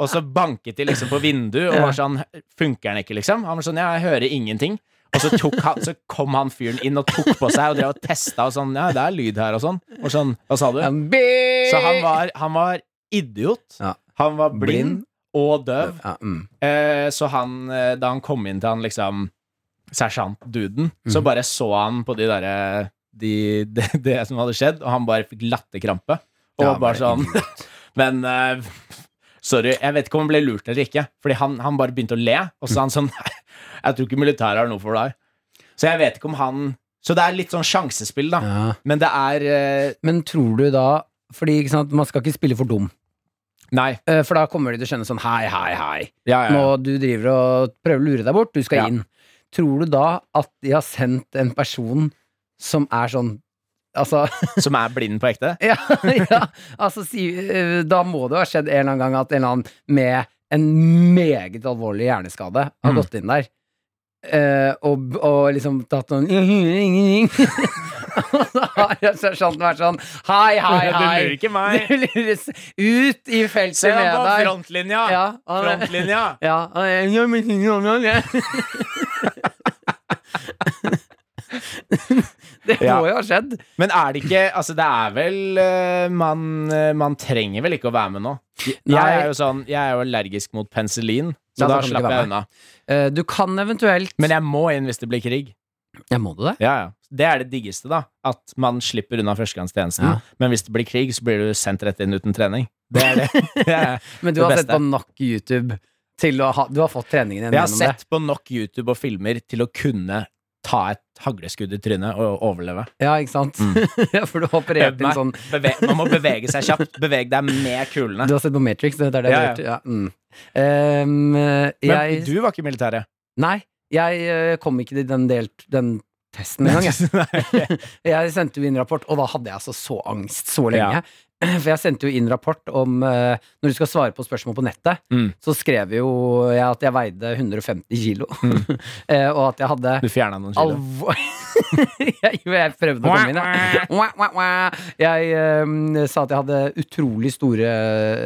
Speaker 3: Og så banket de liksom på vinduet og
Speaker 2: Ja.
Speaker 3: var sånn Funker den ikke, liksom? Han var sånn Ja, jeg hører ingenting. Og så, tok han, så kom han fyren inn og tok på seg og drev og testa og sånn Ja, det er lyd her og sånn. Og sånn Hva sa du?
Speaker 2: En bi-
Speaker 3: Så han var, han var idiot.
Speaker 2: Ja.
Speaker 3: Han var blind
Speaker 2: Blind.
Speaker 3: og døv.
Speaker 2: ja, mm.
Speaker 3: Eh, så han, eh, da han kom inn til han liksom sersjantduden, så
Speaker 2: Mhm.
Speaker 3: bare så han på de derre de, det, det som hadde skjedd, og han bare fikk latterkrampe. Og
Speaker 2: Ja,
Speaker 3: bare
Speaker 2: bare
Speaker 3: sånn Men eh, sorry, jeg vet ikke om han ble lurt eller ikke, fordi han, han bare begynte å le, og så sa han sånn Nei, jeg tror ikke militæret har noe for deg. Så jeg vet ikke om han Så det er litt sånn sjansespill, da.
Speaker 2: ja.
Speaker 3: Men det er eh,
Speaker 2: Men tror du da Fordi ikke sant, man skal ikke spille for dum.
Speaker 3: Nei.
Speaker 2: Eh, For da kommer de til å skjønne sånn Hei, hei, hei.
Speaker 3: Ja, ja,
Speaker 2: Nå
Speaker 3: ja.
Speaker 2: du driver og prøver å lure deg bort. Du skal
Speaker 3: Ja.
Speaker 2: inn. Tror du da at de har sendt en person som er sånn Altså,
Speaker 3: Som er blind på ekte?
Speaker 2: ja, ja altså, si, eh, Da må det jo ha skjedd en eller annen gang at en eller annen med en meget alvorlig hjerneskade har
Speaker 3: Mm.
Speaker 2: gått inn der. eh, og, og liksom tatt noen Og så har sersjanten vært sånn Hei, hei,
Speaker 3: Du
Speaker 2: hei.
Speaker 3: lurer ikke meg.
Speaker 2: Du lures ut i
Speaker 3: Se
Speaker 2: feltet
Speaker 3: ham
Speaker 2: med
Speaker 3: på
Speaker 2: deg.
Speaker 3: frontlinja!
Speaker 2: Ja, han-
Speaker 3: Frontlinja!
Speaker 2: ja, han er- Ja, men- ja, men- ja. Det
Speaker 3: Ja.
Speaker 2: må jo ha skjedd.
Speaker 3: Men er det ikke Altså, det er vel eh, man, eh, man trenger vel ikke å være med nå? Jeg, jeg er jo sånn Jeg er jo allergisk mot penicillin, så
Speaker 2: Ja, da
Speaker 3: da
Speaker 2: kan du ikke
Speaker 3: slapp
Speaker 2: være
Speaker 3: jeg
Speaker 2: med.
Speaker 3: unna.
Speaker 2: Eh, Du kan eventuelt
Speaker 3: Men jeg må inn hvis det blir krig.
Speaker 2: Ja, må du det?
Speaker 3: Ja, ja. Det er det diggeste, da. At man slipper unna førstegangstjenesten.
Speaker 2: Ja.
Speaker 3: Men hvis det blir krig, så blir du sendt rett inn uten trening. Det er det. det er.
Speaker 2: Men du
Speaker 3: Det
Speaker 2: har sett
Speaker 3: beste.
Speaker 2: på nok YouTube til å ha Du har fått treningen din
Speaker 3: Jeg har
Speaker 2: gjennom det.
Speaker 3: sett på nok YouTube og filmer til å kunne ta et hagleskudd i trynet og overleve.
Speaker 2: Ja, ikke sant?
Speaker 3: Mm.
Speaker 2: Ja, For du har operert inn sånn
Speaker 3: Beve man må bevege seg kjapt. Beveg deg med kulene.
Speaker 2: Du har sett på Matrix, det er det jeg
Speaker 3: Ja,
Speaker 2: har gjort. Ja, mm. Ehm, eh,
Speaker 3: Men
Speaker 2: jeg
Speaker 3: du var ikke i militæret.
Speaker 2: Nei, jeg eh, kom ikke til den, delt, den testen engang. jeg.
Speaker 3: Nei, ok.
Speaker 2: Jeg sendte jo inn rapport, og da hadde jeg altså så angst så lenge. For jeg sendte jo inn rapport om eh, Når du skal svare på spørsmål på nettet,
Speaker 3: Mm.
Speaker 2: så skrev jo jeg at jeg veide 150 kilo. Eh, og at jeg hadde
Speaker 3: Mm. Du fjerna noen kilo.
Speaker 2: alvor... jeg, jo, jeg prøvde å komme inn, jeg. Wah, wah, wah. Jeg eh, sa at jeg hadde utrolig store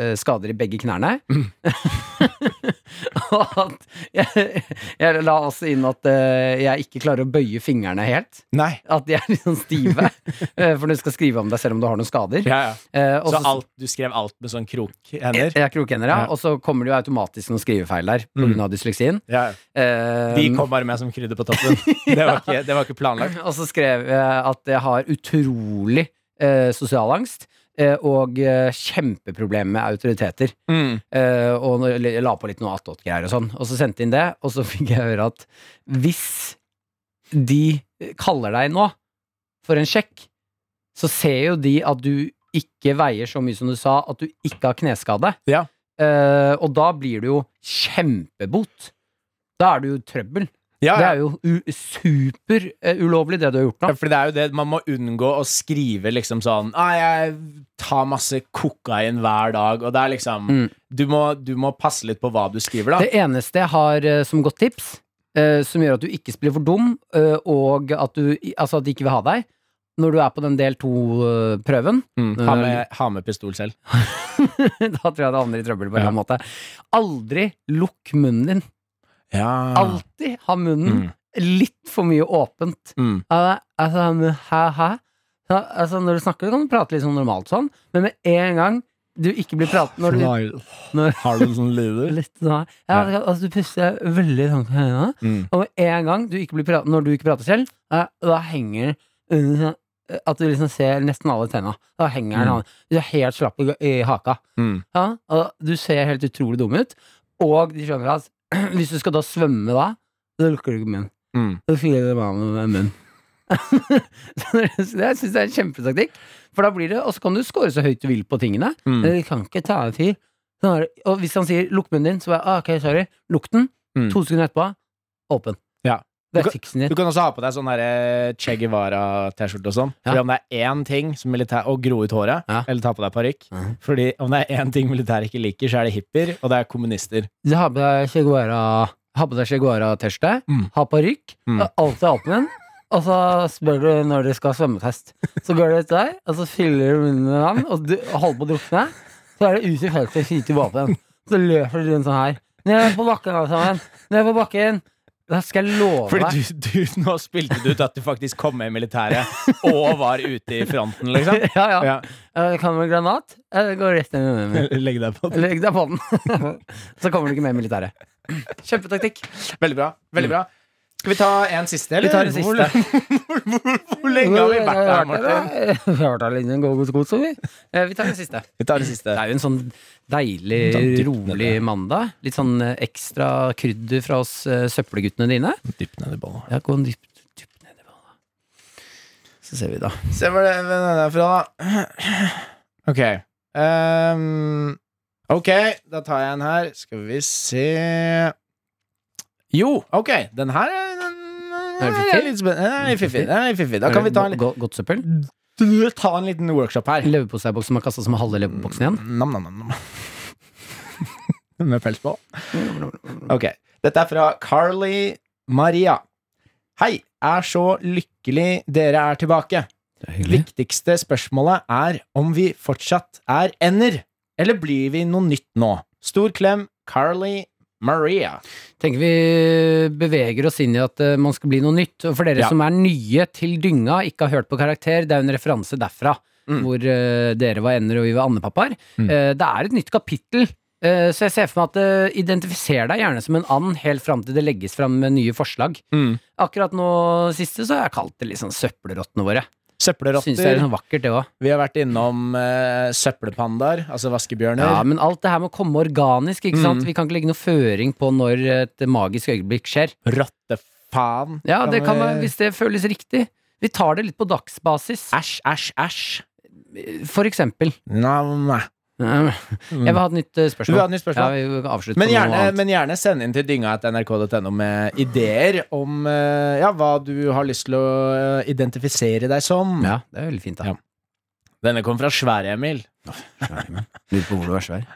Speaker 2: eh, skader i begge knærne.
Speaker 3: Mm.
Speaker 2: og at jeg, jeg la også inn at eh, jeg ikke klarer å bøye fingrene helt.
Speaker 3: Nei.
Speaker 2: At de er litt sånn stive. eh, for når du skal skrive om deg selv om du har noen skader.
Speaker 3: Ja, ja.
Speaker 2: Eh, og Eh,
Speaker 3: Så alt, du skrev alt med sånn krokhender?
Speaker 2: Ja, krokhender, ja.
Speaker 3: Ja.
Speaker 2: Og så kommer det jo automatisk noen skrivefeil der pga. grunn av dysleksien.
Speaker 3: Ja.
Speaker 2: Eh,
Speaker 3: De kom bare med som krydder på toppen. Det var ikke, det var ikke planlagt.
Speaker 2: og så skrev jeg at jeg har utrolig eh, sosial angst. eh, Og eh, kjempeproblemer med autoriteter.
Speaker 3: Mm.
Speaker 2: Eh, og når- eller jeg la på litt noe attåt-greier og sånn. Og så sendte jeg inn det, og så fikk jeg høre at hvis de kaller deg nå for en sjekk, så ser jo de at du ikke veier så mye som du sa, at du ikke har kneskade.
Speaker 3: Ja.
Speaker 2: Eh, og da blir du jo kjempebot. Da er du jo trøbbel.
Speaker 3: Ja,
Speaker 2: Det
Speaker 3: ja.
Speaker 2: er jo u- super eh, ulovlig, det du har gjort nå.
Speaker 3: Ja, for det er jo det, Man må unngå å skrive liksom sånn ah, 'Jeg tar masse kokain hver dag', og det er liksom
Speaker 2: Mm.
Speaker 3: du, må, du må passe litt på hva du skriver, da.
Speaker 2: Det eneste jeg har eh, som godt tips, eh, som gjør at du ikke spiller for dum, eh, og at, du, i- altså at de ikke vil ha deg, når du er på den del eh, to-prøven,
Speaker 3: Mm. Ha, med, ha med pistol selv.
Speaker 2: da tror jeg du havner i trøbbel på en eller
Speaker 3: Ja.
Speaker 2: annen måte. Aldri lukk munnen din.
Speaker 3: Ja.
Speaker 2: Alltid ha munnen litt for mye åpent.
Speaker 3: Mm.
Speaker 2: Ja, Altså, men hæ, hæ? Ja, altså, når du snakker, kan du prate litt sånn normalt sånn, men med en gang du ikke blir prat... Når du, når,
Speaker 3: Har du en sånn lyder?
Speaker 2: litt sånn her. Ja,
Speaker 3: Ja.
Speaker 2: altså, du puster veldig langt med øynene.
Speaker 3: Mm.
Speaker 2: Og med en gang du ikke blir prat når du ikke prater selv, eh, da henger eh, At du liksom ser nesten alle tenna. Da henger den
Speaker 3: Mm.
Speaker 2: av. Du er helt slapp i, i haka.
Speaker 3: Mm.
Speaker 2: Ja? Og du ser helt utrolig dum ut. Og de skjønner at hvis du skal da svømme da, da lukker du ikke munnen.
Speaker 3: Mm.
Speaker 2: Da fyller du meg med munnen. Så det syns jeg synes det er en kjempetaktikk. For da blir det, Og så kan du score så høyt du vil på tingene.
Speaker 3: Mm.
Speaker 2: Men Eh, vi kan ikke ta en fyr. Sånn er det. Og hvis han sier 'lukk munnen din', så bare ah, 'ok, sorry'. Lukk den.
Speaker 3: Mm.
Speaker 2: To sekunder etterpå, åpen.
Speaker 3: Ja.
Speaker 2: Det
Speaker 3: Du
Speaker 2: er
Speaker 3: kan-
Speaker 2: fiksen
Speaker 3: Du
Speaker 2: din.
Speaker 3: kan også ha på deg sånn der, eh, Che Guevara-T-skjorte og sånn.
Speaker 2: Ja.
Speaker 3: Fordi om det er én ting som militær Å gro ut håret,
Speaker 2: Ja.
Speaker 3: eller ta på deg parykk.
Speaker 2: Mhm.
Speaker 3: Fordi om det er én ting militæret ikke liker, så er det hippier, og det er kommunister.
Speaker 2: Du har på deg Che Guevara- har på deg Che Guevara-tørste,
Speaker 3: Mm.
Speaker 2: har parykk,
Speaker 3: Mm.
Speaker 2: er alltid åpen, og så spør du når du skal ha svømmetest. Så går du ut der, og så fyller du munnen med vann, og du holder på å drukne. Så er det ut i feltet og skyter våpen. Så løper du rundt sånn her. Ned på bakken, alle sammen. Ned på bakken. Da skal jeg love deg.
Speaker 3: Fordi du, du, nå spilte du ut at du faktisk kom med i militæret og var ute i fronten, liksom.
Speaker 2: Ja, ja.
Speaker 3: Ja.
Speaker 2: Eh, Kan du en granat? Eh, Det går rett ned i munnen min.
Speaker 3: Legg deg på.
Speaker 2: Legg deg på den. Så kommer du ikke med i militæret. Kjempetaktikk.
Speaker 3: Veldig bra. Veldig bra. Skal vi ta en siste, eller?
Speaker 2: Vi tar en siste.
Speaker 3: Hvor, hvor, hvor, hvor lenge har vi vært her, Martin?
Speaker 2: Vi har vært her lenge. Gå, gå, gå, så vi. Eh, Vi tar den siste.
Speaker 3: Vi tar en siste.
Speaker 2: Det er jo en sånn deilig,
Speaker 3: Sånn dypt ned
Speaker 2: rolig mandag. Litt sånn eh, ekstra krydder fra oss eh, søppelguttene dine.
Speaker 3: Dypt ned i bånn.
Speaker 2: Ja, gå en dypt, dypt ned i vannet. Så ser vi, da.
Speaker 3: Se hvor det hvor den er fra, da. Ok. Ehm, ok, da tar jeg en her. Skal vi se Jo, ok. Den her er, den,
Speaker 2: Er det
Speaker 3: den er litt spennende. Den er litt fiffig. Den er litt fiffig. Da kan vi ta en,
Speaker 2: Go- Godt søppel?
Speaker 3: li- ta en liten workshop her.
Speaker 2: Leverposteiboks som er kasta som halve leverpostboksen igjen?
Speaker 3: Nam-nam-nam. Med pels på. Ok. Dette er fra Carly Maria. Hei. Er så lykkelig dere er tilbake. Viktigste spørsmålet er om vi fortsatt er ender, eller blir vi noe nytt nå? Stor klem, Carly Maria.
Speaker 2: tenker vi beveger oss inn i at eh, man skal bli noe nytt. Og for dere
Speaker 3: Ja.
Speaker 2: som er nye til dynga, ikke har hørt på karakter, det er jo en referanse derfra.
Speaker 3: Mm.
Speaker 2: Hvor eh, dere var ender og vi var andepappaer. Eh, det er et nytt kapittel. eh, så jeg ser for meg at eh, identifiser deg gjerne som en and helt fram til det legges fram med nye forslag.
Speaker 3: Mm.
Speaker 2: Akkurat nå siste så har jeg kalt det liksom søppelrottene våre. Syns det er
Speaker 3: Søppelrotter.
Speaker 2: litt sånn vakkert, det òg.
Speaker 3: Vi har vært innom eh, søppelpandaer, altså vaskebjørner.
Speaker 2: Ja, men alt det her med å komme organisk, ikke
Speaker 3: Mm.
Speaker 2: sant. Vi kan ikke legge noe føring på når et magisk øyeblikk skjer.
Speaker 3: Rottefaen.
Speaker 2: Ja, det kan
Speaker 3: vi-
Speaker 2: være, hvis det føles riktig. Vi tar det litt på dagsbasis,
Speaker 3: Æsj, æsj, æsj.
Speaker 2: for eksempel.
Speaker 3: Nam.
Speaker 2: Jeg vil ha et nytt eh,
Speaker 3: Du vil ha
Speaker 2: spørsmål.
Speaker 3: et nytt
Speaker 2: Ja,
Speaker 3: spørsmål?
Speaker 2: vi vil avslutte
Speaker 3: Men
Speaker 2: på noe
Speaker 3: gjerne,
Speaker 2: annet.
Speaker 3: men gjerne send inn til dynga.nrk.no med ideer om eh, ja, hva du har lyst til å eh, identifisere deg som.
Speaker 2: Ja, det er veldig fint, da.
Speaker 3: Ja. Denne kom fra Svære-Emil.
Speaker 2: Lurer på hvor du er svær.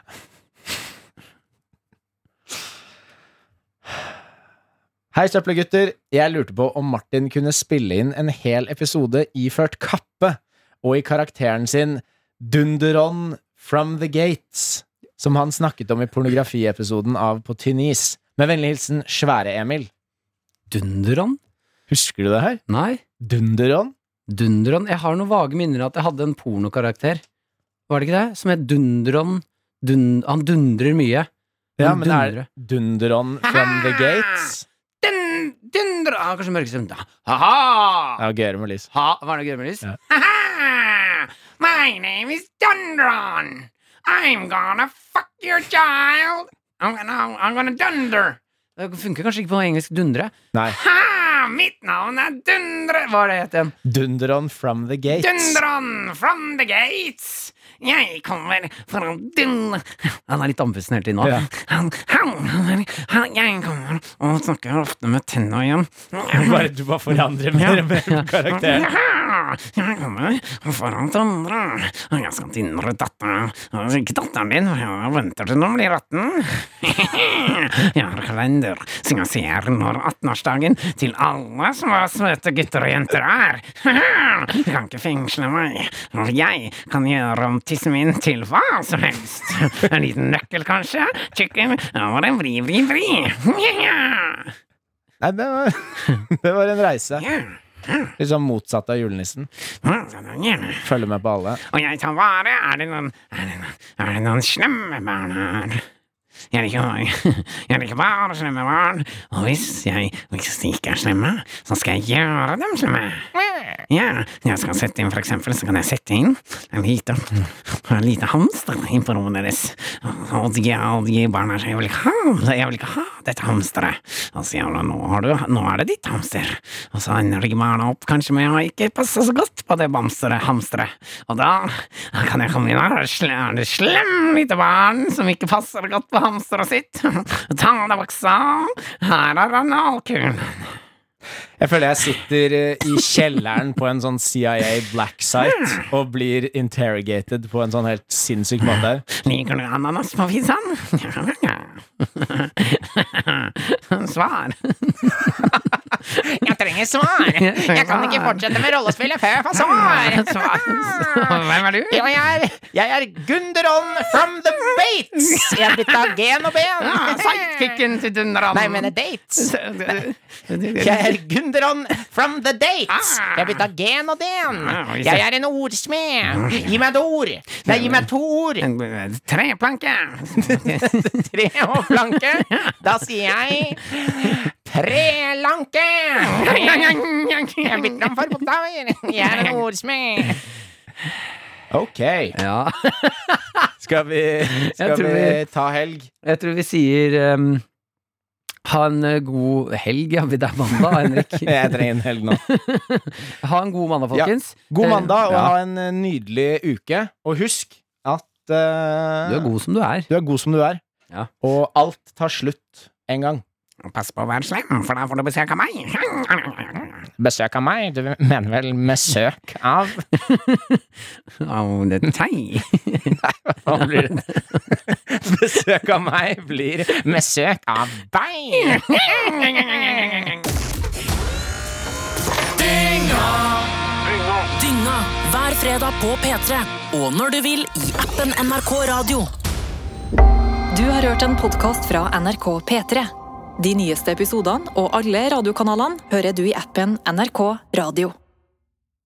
Speaker 3: Hei, søppelgutter. Jeg lurte på om Martin kunne spille inn en hel episode iført kappe og i karakteren sin Dunderon from the Gates, som han snakket om i pornografiepisoden av På tynn is. Med vennlig hilsen Svære-Emil.
Speaker 2: Dunderon?
Speaker 3: Husker du det her?
Speaker 2: Nei.
Speaker 3: Dunderon?
Speaker 2: Dunderon Jeg har noen vage minner av at jeg hadde en pornokarakter. Var det ikke det? Som het Dunderon. Dun, han dundrer mye.
Speaker 3: Ja,
Speaker 2: Han
Speaker 3: men er
Speaker 2: dundrer.
Speaker 3: det Dunderon from
Speaker 2: Ah!
Speaker 3: the Gates?
Speaker 2: Dun, dundre- Han har kanskje mørkestemt. Ha-ha!
Speaker 3: Ja, gøyere med lys.
Speaker 2: Ha, var det noe gøy med lys?
Speaker 3: Ja.
Speaker 2: Ha-ha! My name is Dundron. I'm gonna fuck your child. I'm gonna, I'm gonna dunder. Det funker kanskje ikke på engelsk dundre.
Speaker 3: Nei.
Speaker 2: Ha! Mitt navn er Dundre... Hva er det het igjen?
Speaker 3: Dunderon from the Gates.
Speaker 2: Dundron from the gates! Jeg kommer for å dun... Han er litt andpusten hele tiden nå.
Speaker 3: Ja.
Speaker 2: Han, han, han, han, jeg kommer og snakker ofte med tenna igjen.
Speaker 3: Bare, du bare forandrer
Speaker 2: Ja.
Speaker 3: mer og mer på karakteren.
Speaker 2: Jeg kommer foran Tandra, og jeg skal tindre datteren Ikke datteren din, for jeg venter til den blir 18. Jeg har kalender, så jeg ser når 18-årsdagen til alle små søte gutter og jenter er. Du kan ikke fengsle meg, for jeg kan gjøre om tissen min til hva som helst. En liten nøkkel, kanskje? Chicken? Og det vri, vri, vri.
Speaker 3: Nei, det var, det var en reise.
Speaker 2: Ja,
Speaker 3: Litt sånn motsatt av julenissen.
Speaker 2: ja.
Speaker 3: Følger med på alle.
Speaker 2: Og jeg tar vare. Er det noen, er det noen, er det noen slemme barn her? Jeg liker, jeg liker bare slemme barn. Og hvis, jeg, hvis de ikke er slemme, så skal jeg gjøre dem slemme. Ja, jeg skal sette inn, for eksempel, så kan jeg sette inn en liten, en liten hamster inn på rommet deres. Og de, og de barna sier, jeg vil ikke ha, det, jeg vil ikke ha dette hamsteret. Og så sier han, nå, har du, nå er det ditt hamster. Og så ender de barna opp kanskje med å ikke passe så godt på det bamseret, hamsteret. Og da, da kan jeg komme inn her, sle- er det slem lite barn som ikke passer godt på hamsteret sitt. Ta av deg buksa, her er analkulen.
Speaker 3: Jeg føler jeg sitter eh, i kjelleren på en sånn CIA black site og blir interrogated på en sånn helt sinnssyk måte.
Speaker 2: Liker du ananas på fissen? Svar.
Speaker 5: Jeg trenger svar. Jeg kan ikke fortsette med rollespillet før jeg får svar.
Speaker 2: Svar. Hvem er du?
Speaker 5: Og jeg er, jeg er Gunderon from the Bates. Jeg er blitt av gen og ben.
Speaker 2: Ah, Sidekicken til Dunderan.
Speaker 5: Nei, jeg mener dates. Jeg
Speaker 2: Jeg
Speaker 5: er Gunderon from the dates.
Speaker 2: Ah.
Speaker 5: Jeg er blitt av gen og den. Jeg er en ordsmed. Gi meg et ord. Nei, gi meg to ord.
Speaker 2: eh, Treplanke.
Speaker 5: Tre og blanke. Da sier jeg trelanke. Jeg er blitt av forbokstaver. Jeg er en ordsmed.
Speaker 3: Ok,
Speaker 2: Ja,
Speaker 3: skal vi, skal
Speaker 2: Jeg tror
Speaker 3: vi
Speaker 2: vi-
Speaker 3: ta helg?
Speaker 2: jeg tror vi sier ehm, ha en eh, god helg. Ja, det er mandag, Henrik.
Speaker 3: Jeg trenger en helg nå.
Speaker 2: Ha en god mandag,
Speaker 3: Ja.
Speaker 2: folkens.
Speaker 3: God mandag, og
Speaker 2: Ja.
Speaker 3: ha en eh, nydelig uke. Og husk at eh,
Speaker 2: Du er god som du er.
Speaker 3: du er god som du er.
Speaker 2: Ja.
Speaker 3: Og alt tar slutt en gang.
Speaker 2: Pass på å være slem, for da får du besøk av meg.
Speaker 5: Besøk av meg? Du mener vel med søk av?
Speaker 2: Av det tei.
Speaker 5: Hva blir det?
Speaker 3: Besøk av meg blir
Speaker 5: Med søk av deg!
Speaker 1: Dynga hver fredag på P3. Og når du vil i appen NRK Radio. Du har hørt en podkast fra NRK P3. De nyeste episodene og alle radiokanalene hører du i appen NRK Radio.